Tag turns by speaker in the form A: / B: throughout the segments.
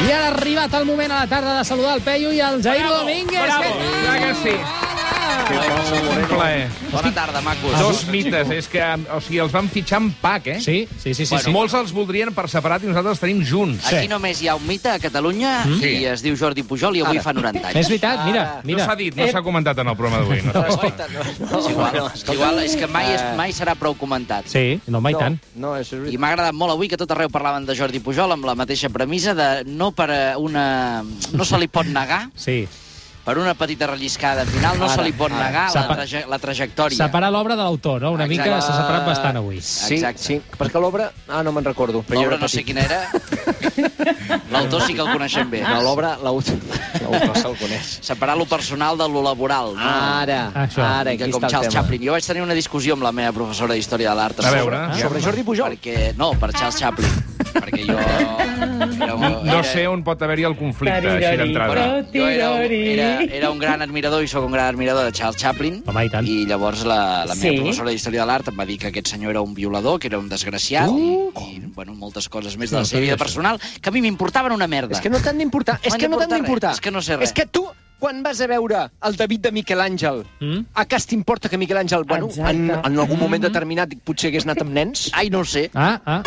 A: I ara ha arribat el moment a la tarda de saludar el Peyu i el Jair Domínguez.
B: bravo. Clar que sí. Un plaer.
C: Bona tarda, macos.
B: Dos mites, és que o sigui, els vam fitxar en pack, eh?
A: Sí, sí, sí, sí.
B: Bueno,
A: sí.
B: Molts els voldrien per separat i nosaltres els tenim junts.
C: Aquí només hi ha un mite a Catalunya
B: Sí.
C: i es diu Jordi Pujol i avui fa 90
A: És
C: anys.
A: veritat, mira,
B: Ah, No
A: mira.
B: s'ha dit, no s'ha comentat en el programa d'avui. No s'ha dit.
C: És
D: Oh,
C: igual, és, igual, és que mai, és, mai serà prou comentat.
A: Sí, no, mai tant.
D: No, és
C: I
D: veritat.
C: m'ha agradat molt avui que tot arreu parlaven de Jordi Pujol amb la mateixa premissa de no per eh, una... no se li pot negar,
A: Sí.
C: per una petita relliscada final, no se li pot negar la, traje la trajectòria.
A: Separar l'obra de l'autor, no? Una
C: Exacte.
A: mica s'ha separat bastant avui.
D: Sí,
C: Exacte.
D: sí, perquè l'obra... Ah, no me'n recordo. però jo
C: L'obra
D: era
C: no sé
D: petit.
C: quina era. L'autor sí que el coneixem bé.
D: No, l'obra, l'autor, l'autor se'l coneix.
C: Separar lo personal de lo laboral. No?
D: Ah. Ara,
A: Això.
D: ara,
C: que
D: aquí
C: com
D: està el
C: Charles
D: tema.
C: Chaplin. Jo vaig tenir una discussió amb la meva professora d'Història de l'Art.
B: A veure,
A: Ah,
B: ja.
D: Sobre Jordi Pujol.
C: Perquè, no, per Charles Chaplin. perquè jo... Era, un-
B: no sé on pot haver-hi el conflicte, així d'entrada.
C: Bueno, jo era, un- era, era un gran admirador i sóc un gran admirador de Charles Chaplin.
A: Home, i tant.
C: I llavors la, la meva
E: Sí.
C: professora d'Història de l'Art em va dir que aquest senyor era un violador, que era un desgraciat, uh, i, bueno, moltes coses més de la seva vida personal que a mi m'importaven una merda.
D: És que no t'han d'importar, és
C: No
D: que no
C: importa
D: t'han
C: res,
D: d'importar.
C: és que no sé res.
D: És que tu, quan vas a veure el David de Miquel Àngel,
A: Mm?
D: a cas t'importa que Miquel Àngel, bueno,
E: Exacte.
D: en, en algun moment
C: Mm-hmm.
D: determinat potser hagués anat amb nens?
C: Ai, no ho sé.
A: Ah, ah.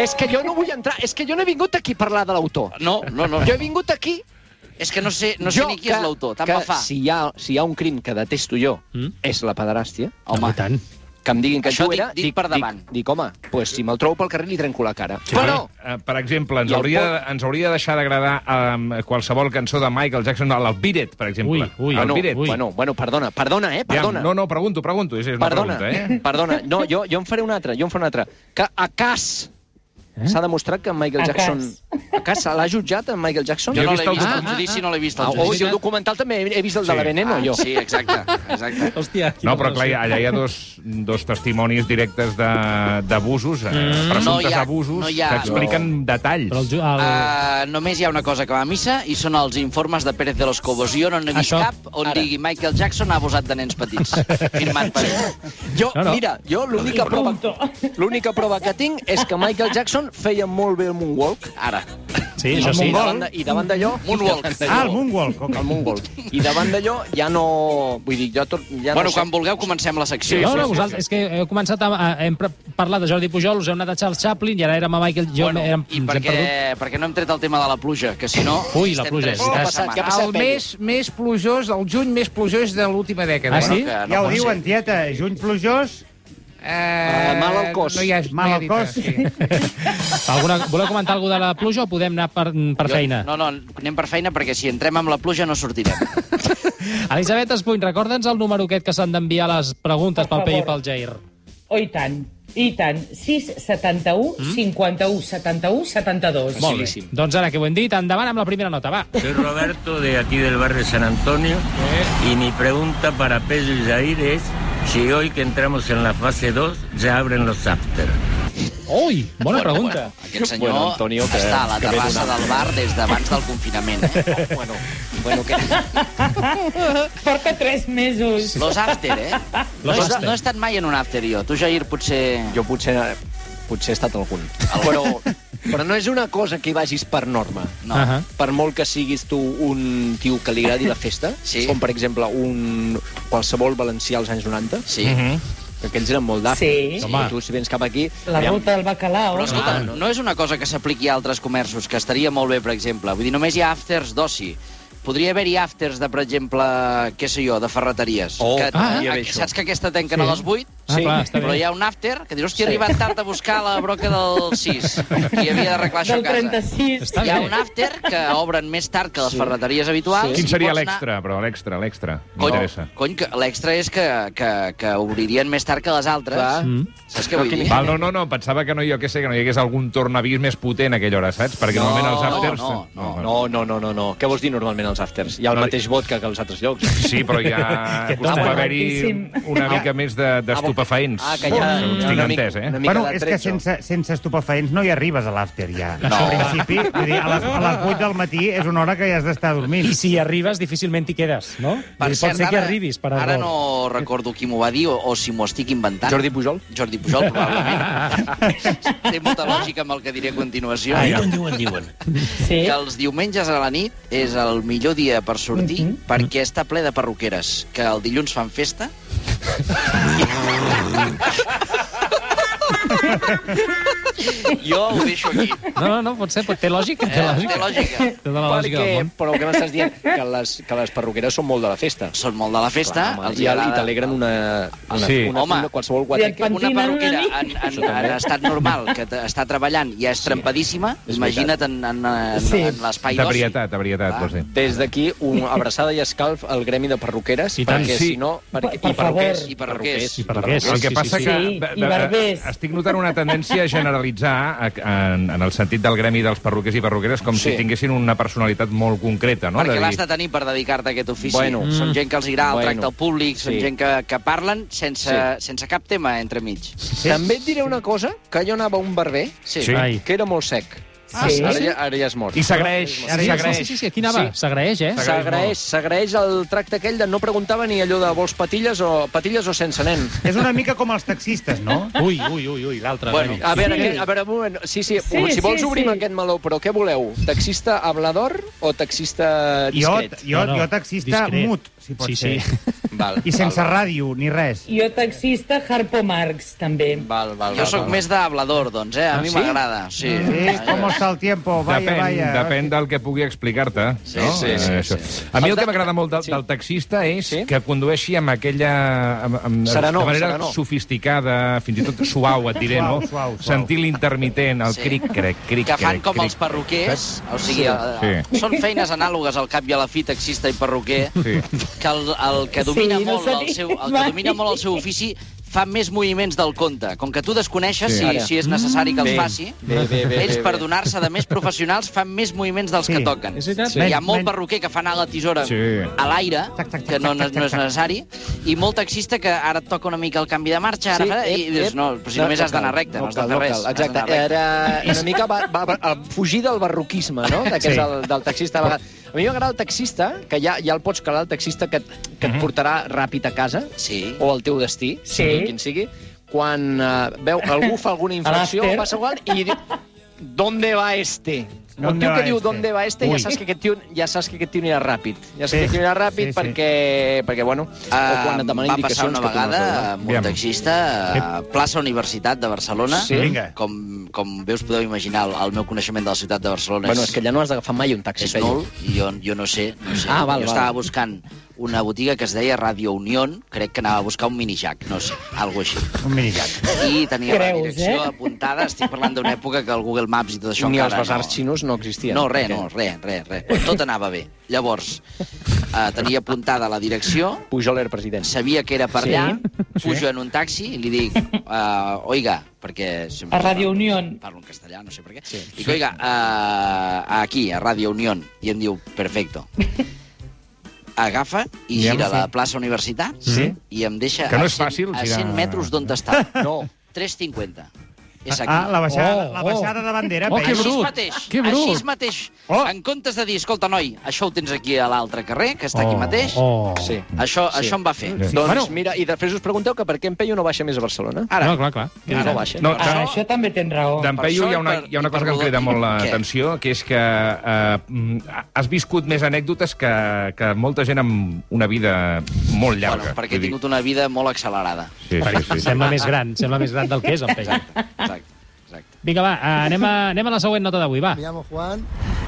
D: És que jo no vull entrar, és que jo no he vingut aquí a parlar de l'autor.
C: No, no, no.
D: Jo he vingut aquí
C: És que no sé, no sé
D: Jo
C: ni qui és
D: que-
C: l'autor, tant
D: que
C: me fa.
D: Si hi, ha, si hi ha un crim que detesto jo,
A: Mm.
D: mm? és la pederàstia,
A: Home, i tant.
D: que em diguin que
C: Això
D: jo
C: dic-
D: era...
C: dic per davant.
D: Dic, dic home, pues, si me'l trobo pel carrer li trenco la cara.
B: Sí. Però, eh, per exemple, ens
D: I el
B: hauria, ens hauria de deixar d'agradar eh, qualsevol cançó de Michael Jackson, el Beat It, per exemple.
A: Ui, ui,
B: el
D: Bueno,
B: Beat It.
A: ui.
D: Ah, bueno, bueno, perdona, perdona, eh,
B: Ja,
D: perdona.
B: no, no, pregunto, pregunto. És, és una
D: perdona,
B: pregunta, eh?
D: perdona. No, jo, jo en faré una altra, jo en faré una altra. Que a cas
A: Eh?
D: eh? s'ha demostrat que en Michael
E: A
D: Jackson...
E: cas.
D: A cas se l'ha jutjat, en Michael Jackson?
C: Jo
B: he
C: no
B: vist
C: l'he
B: el
C: vist,
B: documental.
C: el judici no l'he vist.
D: Ah,
C: El
D: oh,
C: judici.
D: i el documental també he he vist el
B: Sí.
D: de la Veneno,
E: Ah,
D: jo.
C: Ah, Sí, exacte, exacte.
A: Hòstia,
B: No, però clar, allà hi ha dos, dos testimonis directes de- d'abusos, mm. presumptes
C: No hi ha-
B: abusos,
C: no hi ha-
B: que expliquen detalls.
A: Però el, ju- el...
B: Ah,
C: Uh, només hi ha una cosa que va a missa i són els informes de Pérez de los Cobos. Jo no n'he vist
A: Això,
C: cap on digui Michael Jackson ha abusat de nens petits. Firmat per ell.
D: Jo,
A: No, no.
D: mira, jo l'única prova,
E: Punto.
D: l'única prova que tinc és que Michael Jackson feia molt bé el moonwalk.
C: Ara.
A: Sí, això
D: I
A: sí.
D: davant de- I davant d'allò...
C: Moonwalk.
F: Ah, el Moonwalk. ok.
D: El moonwalk. I davant d'allò ja no... Vull dir, jo tot... Ja
C: Bueno,
D: no
C: quan vulgueu comencem la secció.
A: no, no,
B: sí,
A: vosaltres, és que heu començat a, a, hem pre- parlat de Jordi Pujol, us heu anat a Charles Chaplin i ara érem a Michael... Jo,
C: Bueno,
A: érem,
C: I
A: ens hem
C: perquè,
A: perdut.
C: perquè no hem tret el tema de la pluja, que si no...
A: Ui, la
C: estem
A: pluja,
C: tres
A: és-
C: dies
D: ha passat?
C: setmana.
D: Què ha passat?
G: El mes més plujós, el juny més plujós de l'última dècada.
A: Ah, sí?
C: Que no
F: Ja ho
C: pot ser.
F: diuen, tieta, juny plujós,
G: Eh,
D: Ah, mal al cos.
G: No hi ha, no
F: Mal
G: hi ha
F: al
G: dit,
F: cos.
G: Sí.
A: Alguna, voleu comentar alguna de la pluja o podem anar per, per
C: Jo-
A: feina?
C: No, no, anem per feina perquè si entrem amb la pluja no sortirem.
A: Elisabet Espuny, recorda'ns el número aquest que s'han d'enviar les preguntes
E: Per
A: pel Pei i
E: favor.
A: pel Jair.
E: Oh, i tant, i tant. 6, 71,
C: Mm?
E: 51, 71, 72.
A: Molt bé. Doncs ara que ho hem dit, endavant amb la primera nota, va.
H: Soy Roberto de aquí del barrio San Antonio y mi pregunta para Pedro y Jair es si hoy que entramos en la fase 2 ya abren los after.
A: Ui, bona pregunta.
C: Aquest senyor
D: Bueno, Antonio, que-
C: està a la
D: que ve
C: terrassa
D: d'una-
C: del bar des d'abans del confinament. Eh?
D: Bueno, bueno que...
E: Porta 3 mesos.
C: Los after, eh? no,
A: Los
C: he-
A: after.
C: no he estat mai en un after, jo. Tu, Jair, potser...
D: Jo potser, potser he estat algun. Però, però no és una cosa que hi vagis per norma.
C: No.
A: Ahà.
D: Per molt que siguis tu un tio que li agradi la festa,
C: Sí.
D: com per exemple un qualsevol valencià als anys 90,
C: Sí.
D: que aquells eren molt d'after.
E: Sí.
A: Home.
D: Tu, si vens cap aquí...
E: La
D: aviam,
E: ruta del bacalao.
C: Però, escolta, no, no és una cosa que s'apliqui a altres comerços, que estaria molt bé, per exemple. Vull dir, només hi ha afters d'oci. Podria haver-hi afters de, per exemple, què sé jo, de ferreteries.
D: Oh,
C: que,
D: ah,
C: a-
D: ja ve això.
C: saps que aquesta tanquen sí. a les 8?
A: Ah, clar, està
C: Però
A: bé.
C: hi ha un after que dius, hòstia, he arribat tard a buscar la broca del 6 i havia d'arreglar això a
E: Del
C: casa.
E: 36.
A: Està
C: Hi ha
A: bé.
C: un after que obren més tard que les ferreteries habituals.
B: Quin
C: i
B: seria
C: pots anar-
B: l'extra, però, l'extra, l'extra?
C: Cony,
B: M'interessa.
C: cony que l'extra és que, que, que obririen més tard que les altres.
D: Clar.
A: Mm.
C: Saps què vull dir?
B: Val, no, no, no, pensava que no, jo què sé, que no hi hagués algun tornavís més potent a aquella hora, saps? Perquè
D: No,
B: normalment els afters...
C: no, no,
D: No, no, no, no, no. Què vols dir normalment als afters? Hi ha el
B: No,
D: mateix vodka que als altres llocs.
B: Sí, però ja
A: Que tot
B: acostuma a
E: és
B: haver-hi
E: boníssim.
B: una mica més de-
D: A
B: estupefaents.
C: Ah, que hi ha
B: Segons
C: una
B: tinc
C: mica-
B: entès, eh?
D: una mica
F: Bueno,
D: de
F: és que
D: tretzo.
F: sense, sense estupefaents no hi arribes a l'after, ja.
C: No.
F: En principi, vull dir, a les, a les 8 del matí és una hora que ja has d'estar dormint.
A: I si hi arribes, difícilment t'hi quedes, no? Vull dir, Pot ser que arribis, per
C: ara
A: error.
C: no recordo qui m'ho va dir o, o si m'ho estic inventant.
D: Jordi Pujol?
C: Jordi Pujol, probablement. Té molta lògica amb el que diré a continuació.
H: Ah, diuen, diuen, diuen.
A: Eh?
E: Sí?
C: que els diumenges a la nit és el millor dia per sortir
A: Mm-hmm.
E: Mhm.
C: perquè està ple de perruqueres, que el dilluns fan festa. jo ho deixo aquí.
A: No, no, no, pot ser, pot, té lògica, té
C: Eh,
A: lògica.
C: té lògica.
A: Tota la lògica del
D: Perquè,
A: món.
D: però el que m'estàs dient, que les, que les perruqueres són molt de la festa.
C: Són molt de la festa.
D: Clar, home,
C: els
D: I, i
C: agrada-
D: t'alegren una, una,
B: Sí.
D: una,
C: Home.
D: una, qualsevol
E: I
D: guata
E: et
D: que...
E: pan-
C: Una perruquera
E: Pentinen una
C: en,
E: mica.
C: en, en estat normal, que t- està treballant i és trempadíssima,
D: És
C: imagina't en, en, en,
E: Sí.
C: en l'espai
B: De
C: d'oci.
B: varietat, de varietat,
C: Ah.
B: vols dir.
D: Des d'aquí, una abraçada i escalf al gremi de perruqueres,
A: I tant,
D: perquè
B: sí.
D: si no... Perquè,
E: Per- per
D: i perruquers,
C: favor. I perruquers.
A: I perruquers.
B: El que
A: Sí,
B: passa
A: sí,
B: que
E: sí.
B: de-
E: Sí,
B: de-
E: i barbers.
B: estic notant una tendència a generalitzar a- en, en el sentit del gremi dels perruquers i perruqueres com
D: Sí.
B: si tinguessin una personalitat molt concreta, no?
C: Perquè
B: De dir-
C: l'has de tenir per dedicar-te a aquest ofici.
D: Bueno.
C: Són
A: Mm.
C: gent que els agrada el
D: Bueno.
C: tracte al públic, són
D: Sí.
C: gent que, que parlen sense,
D: Sí.
C: sense cap tema entremig.
D: Sí. També et diré una cosa, que jo anava a un barber
C: Sí.
B: Sí.
A: Ai.
D: que era molt sec.
E: Ah, sí?
D: Ara, ja, ara ja és mort.
B: I s'agraeix,
A: Sí, sí,
B: s'agraeix.
A: sí, sí, sí, aquí anava. S'agraeix, eh?
B: S'agraeix molt.
D: S'agraeix, s'agraeix el tracte aquell de no preguntava ni allò de vols patilles o patilles o sense nen.
F: És una mica com els taxistes, no?
D: Uh,
A: Ui, ui, ui, ui, l'altre.
D: Bueno,
A: Remi.
D: a veure, sí. a veure, un moment. Sí, sí,
E: Sí,
D: si vols
E: sí,
D: obrim
E: sí.
D: aquest meló, però què voleu? Taxista hablador o taxista
F: Jo,
D: discret?
F: jo,
A: No, no.
F: jo taxista
A: Discret.
F: mut, si pot
A: Sí,
F: ser.
A: sí.
D: Val,
F: I sense
D: val,
F: ràdio, ni res.
E: Jo taxista Harpo Marx, també.
D: Val, val,
C: Jo
D: val,
C: sóc
D: val.
C: més d'hablador, doncs, eh? A mi
D: Ah, sí? Mm.
C: m'agrada, sí. Eh,
F: Sí, com està el tiempo, vaya,
B: depèn,
F: vaya.
B: depèn del que pugui explicar-te.
C: Sí,
B: no?
D: sí, sí,
B: Eh, això.
D: sí.
B: A mi el
D: El
B: que
D: de-
B: m'agrada molt del,
D: sí.
B: del taxista és
D: Sí?
B: que condueixi amb aquella... Amb, amb,
D: Serenor,
B: de manera
D: serenor.
B: sofisticada, fins i tot suau, et diré,
F: Suau,
B: no?
F: suau, suau.
B: Sentir l'intermitent, el
C: Sí.
B: cric-crec, cric-crec.
C: Que fan com
B: cric.
C: els perruquers, o sigui,
B: Sí.
C: sí. són feines anàlogues al cap i a la fi, taxista i perruquer,
B: Sí.
C: que el, el que domina
E: Sí, no
C: molt el
E: sabia
C: seu, el que
E: mai.
C: domina molt el seu ofici fa més moviments del compte. Com que tu desconeixes
B: Sí.
C: sí. si,
D: Ara.
C: si és necessari que els
D: Bé,
C: faci,
D: Bé, bé, bé,
C: ells,
D: bé,
C: per
D: bé.
C: donar-se de més professionals, fan més moviments dels
F: Sí.
C: que toquen.
A: És veritat?
C: Hi ha
F: Menys-
C: molt
F: menys-
C: perruquer que fa anar la tisora
B: Sí.
C: a l'aire,
F: Tac, tac, tac,
C: que no, no
F: tac, tac,
C: és
F: tac.
C: necessari, i molt taxista que ara et toca una mica el canvi de marxa, ara
D: Sí,
C: fa, i
D: ep,
C: dius,
D: ep.
C: no, però si només has d'anar recte, no has de fer
D: cal,
C: res.
D: cal.
C: has
D: Exacte, eh,
C: d'anar recte.
D: era una mica va, va, va, fugir del barroquisme, no? De que és
F: Sí.
D: el, del taxista. A vegades. A mi m'agrada el taxista, que ja, ja el pots calar, el taxista que, et- que et portarà ràpid a casa,
C: Sí.
D: o al teu destí,
E: Sí.
D: sigui quin sigui, quan uh, veu algú fa alguna infracció,
E: l'after.
D: passa igual i diu... ¿Dónde va este? Un
F: ¿Dónde
D: tio que
F: va
D: diu
F: este?
D: ¿Dónde va este? Ja
F: Ui.
D: saps que aquest tio, ja saps que aquest tio anirà ràpid. Ja saps
F: Sí.
D: que aquest tio anirà ràpid
F: Sí, sí.
D: perquè, perquè bueno, o quan et
C: Uh,
D: demanen
C: va passar
D: indicacions
C: una
D: que tu no has de
C: vegada
D: donar.
C: amb un
B: Aviam.
C: taxista a plaça Universitat de Barcelona.
D: Sí.
F: Vinga.
C: Com, com bé us podeu imaginar, el, el meu coneixement de la ciutat de Barcelona
D: Bueno,
C: és,
D: és que ja no has d'agafar mai un taxi.
C: és
D: Peyu.
C: nul i jo, jo no sé. No sé.
D: Ah, val,
C: jo
D: val.
C: estava buscant una botiga que es deia Radio Unión, crec que anava a buscar un minijack, no sé, alguna així.
F: Un minicat.
C: I tenia la
E: Creus,
C: direcció
E: eh?
C: apuntada, estic parlant d'una època que el Google Maps i tot això
D: Ni els
C: encara
D: basars xinos no existien.
C: no, res,
D: Perquè-
C: no, res, res, res. Tot anava bé. Llavors, eh, tenia apuntada la direcció,
D: Pujol era president.
C: sabia que era per
E: Sí.
C: allà, pujo en un taxi i li dic, uh, oiga, perquè... sempre
E: A Radio Unión.
C: Parlo en castellà, no sé per què. Sí. Dic, oiga, uh, aquí, a Radio Unión. I em diu, perfecto. Agafa i
B: Ja em
C: gira a la
B: sé.
C: plaça Universitat
B: Sí.
C: i em deixa
B: Que no
C: a
B: és fàcil,
C: a
B: girar-
C: 100 metres d'on està.
D: No.
C: 3,50. És aquí.
F: Ah, la baixada,
A: Oh,
F: la
A: oh.
F: baixada de bandera,
A: Oh,
F: Peyu.
A: que
C: Així
A: brut.
C: mateix,
A: Que brut.
C: així mateix.
F: Oh.
C: En comptes de dir, escolta, noi, això ho tens aquí a l'altre carrer, que està aquí mateix,
A: Oh.
D: Sí.
C: això,
D: Sí.
C: això em va fer.
D: Doncs
A: Bueno. Ah.
D: mira, i després us pregunteu que per què en Peyu no baixa més a Barcelona.
A: Ara. No, clar, clar.
D: Ara no baixa.
B: No,
E: Ah,
B: de-
E: això també tens raó.
B: D'en
C: Oh, Per
B: Peyu hi
C: això
B: ha
C: i
B: una,
C: per-
B: hi ha una
C: i
B: cosa
C: per
B: que em crida
C: Rodolí.
B: molt
C: Què?
B: l'atenció, que és que eh, mm, has viscut més anècdotes que, que molta gent amb una vida molt llarga.
D: eh?
C: Bueno, perquè he
B: vull dir.
C: tingut una vida molt accelerada.
B: Sí, sí, sí.
A: Sembla més gran, sembla més gran del que és, en Peyu.
C: Exacte, exacte.
A: Vinga, va, eh, anem a, anem a la següent nota d'avui, va.
I: Me llamo Juan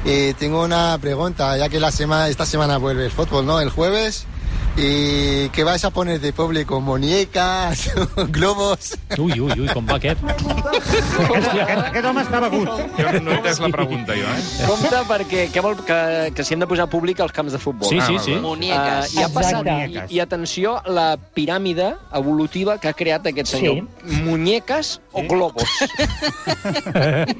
I: y tengo una pregunta, ya que la semana, esta semana vuelve el fútbol, ¿no? El jueves. ¿Y qué vais a poner de público? ¿Muñecas? ¿Globos?
A: Ui, ui, ui, com va aquest.
F: Aquest, aquest, aquest home està begut.
B: Jo no he entès la pregunta, jo, eh?
D: Compte perquè què vol que, que s'hi han de posar públic als camps de futbol.
A: Sí,
B: Ah,
A: sí,
B: val,
A: sí.
B: val.
D: Uh,
C: Muñecas.
D: I ha passat, i,
F: Muñecas.
D: i atenció, la piràmide evolutiva que ha creat aquest senyor. Sí. Muñeques o globos.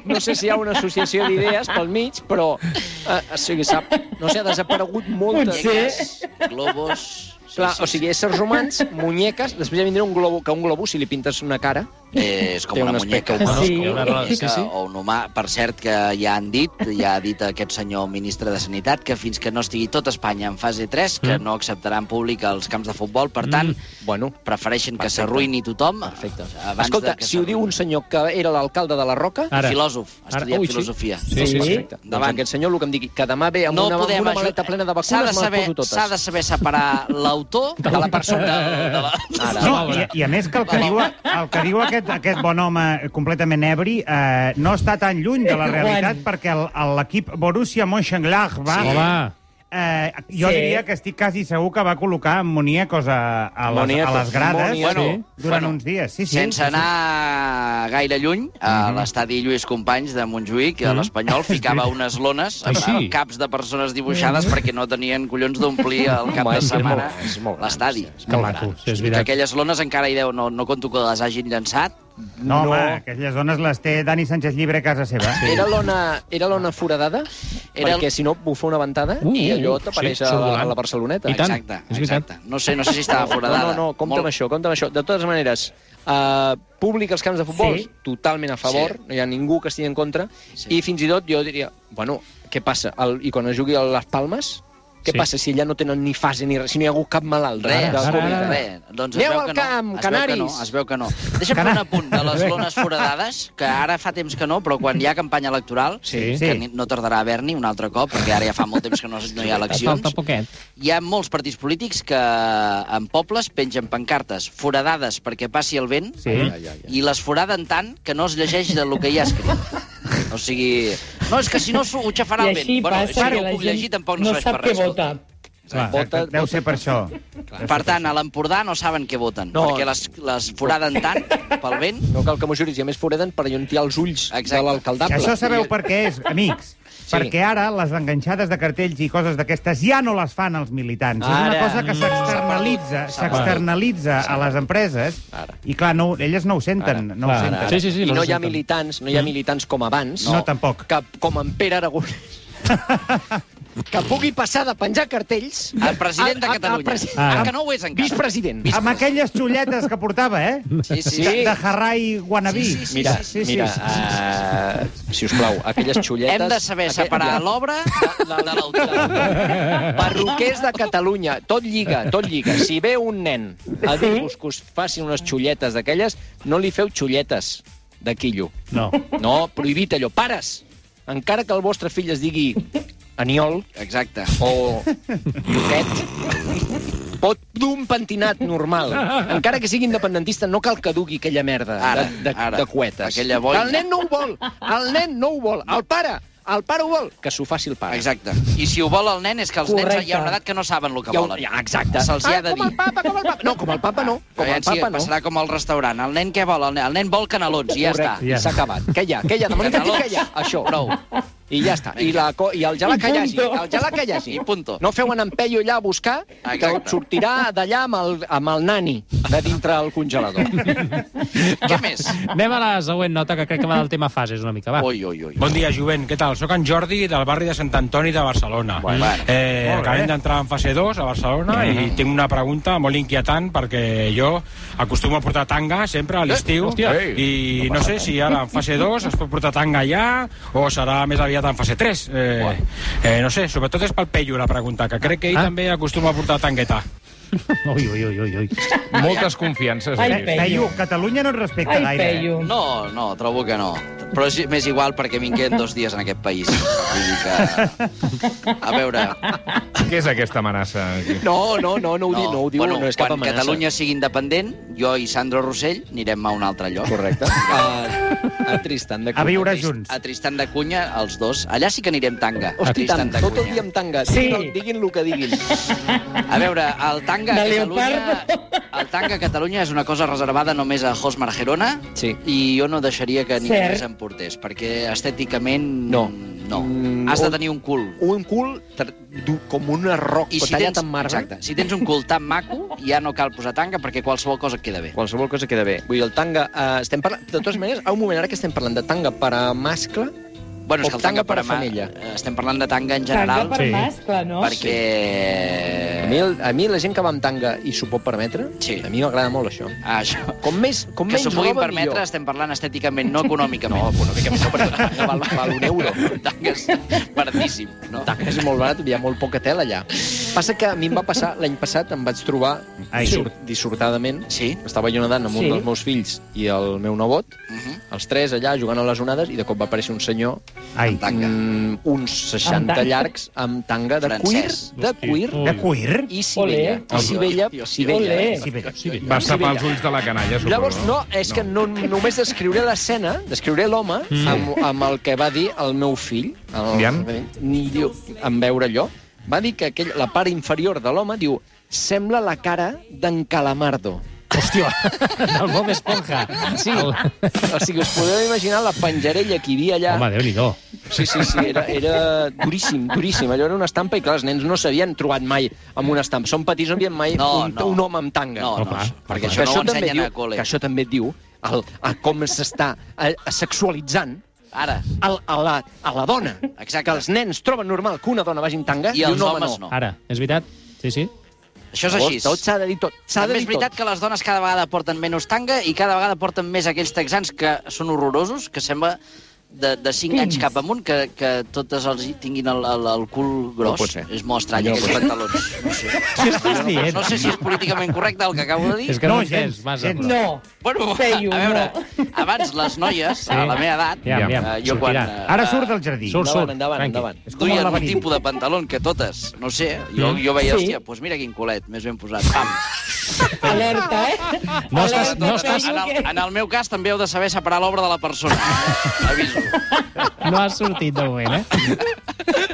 D: No sé si hi ha una associació d'idees pel mig, eh, però uh, o sigui, s'ha- no sé, ha desaparegut moltes...
E: Potser.
C: Globos...
D: Clar, o sigui, éssers humans, muñeques, després ja vindrà un globo, que a un globo, si li pintes una cara...
C: Eh, És com
D: Té
C: una
D: un
C: muñeca
D: aspecte
C: humana.
E: Sí.
C: com una
A: Sí,
C: muñeca
D: sí.
C: O un humà. Per cert, que ja han dit, ja ha dit aquest senyor ministre de Sanitat, que fins que no estigui tot Espanya en fase 3, que
A: Mm.
C: no acceptarà en públic els camps de futbol. Per tant,
D: Mm, Bueno,
C: prefereixen que
D: Perfecte.
C: s'arruïni tothom.
D: Perfecte.
C: Abans
D: escolta,
C: de que
D: si ho diu un senyor que era l'alcalde de la Roca...
A: Ara.
C: Filòsof, ha
A: Ara.
C: estudiat
A: Ui, sí.
C: filosofia.
E: Sí, sí, sí.
D: Perfecte. Doncs
C: Endavant.
D: aquest senyor el que em digui, que demà ve amb
C: No
D: una, amb
C: podem
D: una maleta
C: ajudar-
D: plena de
C: S'ha de
D: vacunes, me les
C: saber,
D: poso totes.
C: s'ha de saber separar l'autor de la persona. De la...
D: Ara.
A: No,
F: No, i, i a més que el que diu, el que diu aquest, aquest bon home completament ebri eh, no està tan lluny de la realitat perquè el- el- l'equip Borussia Mönchengladbach
A: Home,
F: eh, jo
E: Sí.
F: diria que estic quasi segur que va col·locar moniecos a, a, les, a
D: Moniecos.
F: les grades
D: Moniecos.
F: sí, durant
C: Bueno,
F: uns dies. Sí, sí,
C: Sense
F: sí, sí.
C: anar gaire lluny, a
D: Mhm.
C: l'estadi Lluís Companys de Montjuïc, a l'Espanyol, ficava unes lones amb
A: sí?
C: amb caps de persones dibuixades perquè no tenien collons d'omplir el cap
D: Mhm.
C: de
D: Home, és que és
C: setmana
D: molt- és molt gran,
C: l'estadi.
A: que maco, sí, és
C: Que
A: veritat.
C: aquelles lones encara hi deu, no, no conto que les hagin llançat.
F: No, home, aquelles dones les té Dani Sánchez Llibre a casa seva.
D: Era l'ona era l'ona foradada,
C: Era
D: era
C: el-
D: perquè si no bufa una ventada
A: Uh,
D: i allò
A: uh,
D: t'apareix
A: sí,
D: a,
A: surt
D: la- a
A: volant.
D: la Barceloneta.
A: I tant,
C: Exacte,
A: és veritat.
C: exacte. No sé, no sé si estava
D: No,
C: foradada.
D: no, no, compta
C: Molt-
D: amb això, compta amb això. De totes maneres, uh, públic als camps de futbol,
E: Sí.
D: totalment a favor,
C: Sí.
D: no hi ha ningú que estigui en contra,
C: Sí.
D: i fins i tot jo diria, bueno, què passa? El, I quan es jugui a les Palmes, què
A: Sí.
D: passa si allà no tenen ni fase ni res, si no hi ha hagut cap malalt?
C: Res,
D: de
A: ara,
D: Covid?
A: ara.
C: res. Doncs es
D: Aneu
C: veu
D: al
C: que no.
D: camp,
C: es veu que no,
D: Canaris.
C: es veu que no. Deixa'm fer un apunt de les lones foradades, que ara fa temps que no, però quan hi ha campanya electoral,
A: Sí.
C: que
F: Sí.
C: ni- no tardarà a haver-n'hi un altre cop, perquè ara ja fa molt temps que no, no hi ha
A: Falta
C: eleccions,
A: poquet.
C: hi ha molts partits polítics que en pobles pengen pancartes foradades perquè passi el vent
F: Sí.
C: i les foraden tant que no es llegeix del que hi ha escrit. O sigui, no, és que si no ho xafarà
E: I
C: el vent.
E: així
C: bueno,
E: passa
C: això
E: que
C: ho
E: la
C: puc
E: gent
C: llegir, tampoc no, serveix
E: sap
C: per
E: què
C: res.
E: vota.
F: Clar,
D: Vota-
F: deu ser per això.
C: Per tant, a l'Empordà no saben què voten,
D: No.
C: perquè les, les foraden tant pel vent.
D: No cal que m'ho juris, i a més foreden per allontiar els ulls
C: Exacte.
D: de l'alcaldable.
F: Això sabeu per què és, amics? Sí. Perquè ara les enganxades de cartells i coses d'aquestes ja no les fan els militants. Ara. És
D: Ara.
F: una cosa que s'externalitza, s'externalitza a les empreses
D: Ara.
F: i, clar, no, elles no ho senten. No ho
A: Clar,
F: senten.
A: ara. Sí, sí, sí,
D: I no,
A: no
D: hi ha
A: senten.
D: militants, no hi ha militants com abans.
F: Mm-hmm. No, tampoc.
D: Que, com en Pere Aragonès. que pugui passar de penjar cartells...
C: El president de
D: a- a- a
C: Catalunya.
D: presi-
C: Ah,
F: Ah.
C: que no ho és encara.
D: Vicepresident.
F: Amb aquelles xulletes que portava, eh?
C: Sí, sí,
F: De,
C: sí.
F: de Harrai Guanabí.
C: Sí, sí, sí,
D: Mira,
F: sí, sí,
D: mira, ah,
F: sí,
D: Uh, si us plau, aquelles xulletes...
C: Hem de saber
D: aquell-
C: separar
D: mira,
C: l'obra de, de, de l'autor.
D: Perruquers de Catalunya, tot lliga, tot lliga. Si ve un nen a dir-vos que us facin unes xulletes d'aquelles, no li feu xulletes de quillo.
F: No.
D: No, prohibit allò. Pares, encara que el vostre fill es digui Aniol
C: Exacte.
D: o Lloquet, pot dur un pentinat normal. Encara que sigui independentista, no cal que dugui aquella merda
C: Ara,
D: de, de,
C: ara.
D: de cuetes.
C: Aquella boina.
D: El nen no ho vol. El nen no ho vol. El pare, el pare ho vol. Que s'ho faci el pare.
C: Exacte. I si ho vol el nen és que els Correcte. nens
E: Correcte.
C: hi ha una edat que no saben el que
D: Hi ha un-
C: volen.
D: hi ha- exacte.
C: Se'ls hi ha
D: Ah,
C: de
D: com
C: dir.
D: el papa, com el papa. No, com el papa no. Com el
C: Aviam si
D: papa no.
C: Passarà com al restaurant. El nen què vol? El nen, el nen vol canelons, i ja
D: Correcte,
C: està.
D: i s'ha acabat. Què hi ha? Què hi ha? De moment
C: Canelons.
D: que hi ha? Això.
C: Prou.
D: I ja està. I, la, co- i el gelat que hi hagi.
E: punto.
D: El gelat que hi hagi.
C: I punto.
D: No feu anar en Peyu allà a buscar, que
C: Exacte.
D: sortirà d'allà amb, el, amb el nani de dintre el congelador.
C: Què més?
A: Anem a la següent nota, que crec que va del tema fases una mica, va.
C: Ui, ui, ui.
J: Bon dia, jovent. Què tal? Soc en Jordi, del barri de Sant Antoni de Barcelona.
C: Bueno.
J: eh,
F: Molt bé. Mm-hmm.
J: acabem d'entrar en fase 2 a Barcelona i tinc una pregunta molt inquietant perquè jo acostumo a portar tanga sempre a
F: Eh?
J: l'estiu
B: hòstia.
J: i no, sé si ara en fase 2 es pot portar tanga ja o serà més aviat en fase 3. Eh, eh, no sé, sobretot és pel Peyu la pregunta, que crec que ell
A: Ah.
J: també acostuma a portar tangueta.
A: Ui, ui, ui, ui, ui.
B: Moltes confiances.
E: Ai,
B: eh?
E: Peyu.
F: Peyu, Catalunya no et respecta
E: Ai,
F: gaire. eh?
E: Peyu.
C: No, no, trobo que no. Però és més igual perquè vinguem dos dies en aquest país. Vull dir que... A veure...
B: Què és aquesta amenaça?
D: No, no, no, no ho, di, no ho diu,
C: bueno,
D: no és cap
C: quan
D: amenaça.
C: Catalunya sigui independent, jo i Sandro Rossell anirem a un altre lloc.
D: Correcte. Ah, A, a Tristan de
F: A viure
C: Trist-
F: junts.
C: A Tristan de Cunha, els dos. Allà sí que anirem tanga. a
D: Hosti,
C: Tristan
D: tant,
C: de
D: tot el
C: Cunha.
D: dia amb tanga.
E: Sí.
D: Diguin, el- diguin el que diguin.
C: A veure, el tanga a
E: De
C: Catalunya...
E: leopardo.
C: El tanga a Catalunya és una cosa reservada només a Josmar Gerona
D: Sí.
C: i jo no deixaria que ningú
E: Cert.
C: més en portés, perquè estèticament...
D: No.
C: No.
D: Mm,
C: Has de
D: o-
C: tenir un cul.
D: Un cul tr- dur com una roc,
C: I si
D: tallat
C: tens,
D: en marbre.
C: exacte, si tens un cul tan maco, ja no cal posar tanga perquè qualsevol cosa et queda bé.
D: Qualsevol cosa queda bé. Vull dir, el tanga... Eh, estem parlant... De totes maneres, a un moment ara que estem parlant de tanga per a mascle,
C: Bueno, és que
D: O
C: el tanga,
D: tanga per a
C: per a
D: femella.
C: mà... Estem parlant de tanga en
E: Tanga
C: general.
E: per mas, clar, no?
C: Perquè...
D: A mi, el- a mi la gent que va amb tanga i s'ho pot permetre,
C: Sí.
D: a mi m'agrada molt això.
C: Ah, això.
D: Com més, com
C: Que
D: menys
C: s'ho puguin
D: roba,
C: permetre,
D: millor.
C: estem parlant estèticament, no econòmicament. No, econòmicament no, perquè val, val un euro. Tangues, baratíssim. No?
D: És molt barat, hi ha molt poca tela allà. Passa que a mi em va passar, l'any passat em vaig trobar
F: Ai.
D: dissort, dissortadament,
C: Sí?
D: estava jo nedant amb sí.
E: Sí.
D: un dels meus fills i el meu nebot,
C: Uh -huh.
D: els tres allà jugant a les onades, i de cop va aparèixer un senyor,
F: Ai,
C: Tanga.
D: mm, uns
E: Amb
D: 60
E: tanga.
D: llargs, amb tanga de cuir,
C: Francès.
D: de cuir,
F: de cuir?
D: i sibella.
E: Olé.
D: I sibella, sibella.
E: Olé.
D: eh?
F: Sí, bé.
A: Sí, bé.
B: Vas tapar els ulls de la canalla, suposo.
D: Llavors, no, és que no, només descriuré l'escena, descriuré l'home
A: Mm.
D: amb, amb el que va dir el meu fill, el,
B: Aviam.
D: ni diu, en veure allò, va dir que aquell, la part inferior de l'home, diu, sembla la cara d'en Calamardo.
A: Hòstia, del Bob Esponja.
D: Sí.
A: El...
D: O sigui, us podeu imaginar la penjarella que hi havia allà.
A: Home, Déu-n'hi-do.
D: Sí, sí, sí, era, era duríssim, duríssim. Allò era una estampa i, clar, els nens no s'havien trobat mai amb una estampa. Són petits, no havien mai
C: No,
D: un,
C: no.
D: un home amb tanga.
C: No, no,
A: Opa,
C: perquè
D: Que
C: això no ho
D: també
C: ensenyen
D: diu,
C: a col·le.
D: Que això també et diu el, a com s'està eh, sexualitzant
C: Ara,
D: el, a, la, a la dona.
C: Exacte.
D: Que els nens troben normal que una dona vagi amb tanga
C: I
D: i,
C: els
D: un home
C: homes
D: no.
C: no.
A: Ara, és veritat? Sí, sí.
C: això és
D: Llavors,
C: així.
D: Tot s'ha de dir tot. S'ha
C: També
D: de
C: és
D: dir
C: veritat
D: tot.
C: que les dones cada vegada porten menys tanga i cada vegada porten més aquells texans que són horrorosos, que sembla de, de 5 anys cap amunt, que, que totes els hi tinguin el, el, el cul gros.
D: No pot ser.
C: és molt estrany,
D: No
C: aquests pantalons. No sé.
F: Què estàs dient?
C: no sé si és políticament correcte el que acabo de dir.
A: És que
F: No,
A: no, no gens,
F: gens,
A: vas
F: gens.
A: gens.
E: No.
C: Bueno, a,
E: Feio,
C: a veure,
E: no.
C: abans les noies, a la meva edat,
A: Ja, ja,
C: eh, jo quan...
A: sortirà.
C: eh,
F: Ara surt del jardí.
A: Surt, surt.
D: Endavant, endavant,
A: Tranqui.
D: endavant.
F: És com el
C: duien un
F: laberint.
C: tipus de pantalón que totes, no ho sé, jo,
A: Mm.
C: jo veia,
E: Sí.
C: hòstia, doncs mira quin culet, més ben posat, pam.
E: Alerta, eh?
A: No estàs- no
E: Alerta,
A: estàs-
E: feio
C: En, el,
E: que-
C: en el meu cas també heu de saber separar l'obra de la persona. eh? Aviso.
A: No has sortit de moment, eh?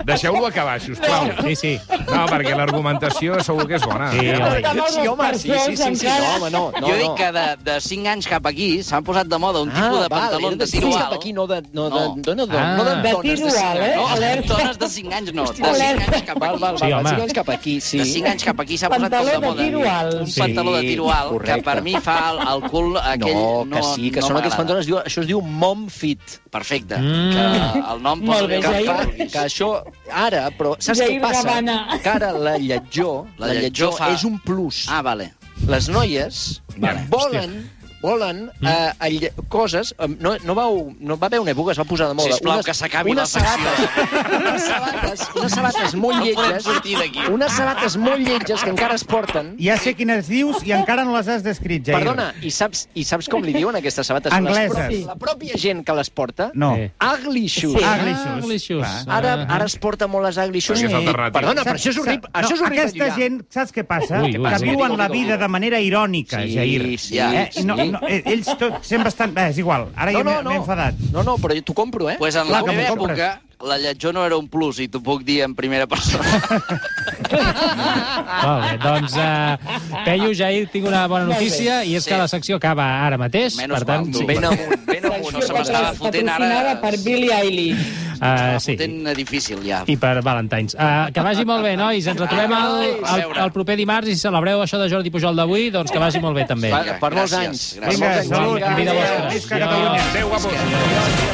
B: Deixeu-lo acabar, sisplau.
A: Sí, sí.
B: No, perquè l'argumentació segur que és bona.
A: Sí, home.
E: Estan els
D: Sí, home, sí, sí, sí, sí,
E: encara.
D: no, home, no, no,
C: jo dic
D: no. Ah,
C: que de, de 5 anys cap aquí s'han posat de moda un tipus de pantaló de tiro alt.
D: Aquí no de, no,
C: No.
D: de, no, no,
A: Ah.
D: no, de,
E: De
D: dones
E: tiro
D: de cinc
E: alt, eh?
D: anys.
C: No,
E: Alerta.
C: dones de 5 anys no, de 5
E: Alerta.
C: anys cap
D: Val,
C: aquí.
D: val, val,
A: Sí,
D: sí,
A: home.
D: anys cap aquí, sí.
C: De 5 anys cap aquí s'ha posat
E: Pantaló
C: tot de
E: de
C: moda.
E: tiro alt.
C: Un
E: Sí,
C: pantaló de tiro alt que
D: correcte.
C: per mi fa el, el cul aquell...
D: no, que sí, que
C: no
D: són
C: m'agrada.
D: aquells pantalons, diu, això es diu mom fit.
C: Perfecte.
A: Mm.
C: Que el nom posa
E: Molt bé,
C: bé el que
E: Jair.
D: Que,
C: vulguis.
D: que això, ara, però saps
E: Jair
D: què passa?
E: Gavana.
D: Que ara la lletjó,
C: La
D: la,
C: lletjó
D: lletjó,
C: fa-
D: és un plus.
C: Ah, vale.
D: Les noies
B: Vale.
D: volen volen
C: Mm.
D: eh, alle... coses... eh, No, no, vau, no va haver una època, es va posar de moda.
C: Sisplau, que s'acabi la
D: unes
C: secció.
D: sabates, unes sabates, unes sabates molt
C: No podem
D: lletges,
C: sortir d'aquí.
D: unes sabates molt lletges que encara es porten,
F: Ja sé quines dius i encara no les has descrit, Jair.
D: Perdona, i saps, i saps com li diuen aquestes sabates? Les
F: Angleses.
D: propi- La pròpia gent que les porta,
F: No.
A: Eh.
D: ugly shoes.
E: Sí.
F: Ugly
A: Ah,
F: shoes.
A: ugly shoes.
F: Clar.
D: Ara, ara es porta molt les ugly shoes.
B: Perquè és
D: I-
B: alternatiu.
D: Perdona, però
F: Saps-
D: això és horrible.
F: saps-
D: això és
F: no,
D: horrible
F: Aquesta
D: lligar.
F: gent, saps què passa?
A: Ui, ui.
F: que
A: Sí,
D: digue-ho,
F: viuen la vida
D: digue-ho.
F: de manera irònica,
D: Sí,
F: Jair.
D: sí,
F: eh?
D: sí.
F: No, no, eh, ells tots sempre estan... Bé, és igual, ara
D: No,
F: ja m'he
D: no, no.
F: m'he enfadat.
D: No, no, però jo t'ho compro, eh?
C: Pues en la
F: Clar que
C: meva
F: m'ho compres.
C: època, la lletjó no era un plus, i t'ho puc dir en primera persona.
A: Molt bé, doncs, uh, Peyu, Jair, tinc una bona
E: Molt bé.
A: notícia, i és
C: Sí.
A: que la secció acaba ara mateix.
C: Menys
A: per tant,
C: mal, tu.
A: sí.
C: Ben
D: amunt, ben
C: amunt. No se
E: Secció
C: m'estava
E: patro-
C: fotent ara...
E: Patrocinada per Billie Eilish.
A: Uh,
D: Ah,
C: Estava
A: sí,
C: fotent difícil, ja.
A: i per Valentines. Uh, que vagi molt bé, nois. Ens retrobem el,
C: A
A: el,
C: veure.
A: el proper dimarts i si celebreu això de Jordi Pujol d'avui, doncs que vagi molt bé també.
D: Per, per molts
C: Gràcies, gràcies.
D: anys. Per molts
F: Vinga,
D: anys.
F: salut.
A: Vida
F: Adéu.
A: vostra.
F: Visca
A: Adéu.
F: Catalunya.
B: Adéu, guapos.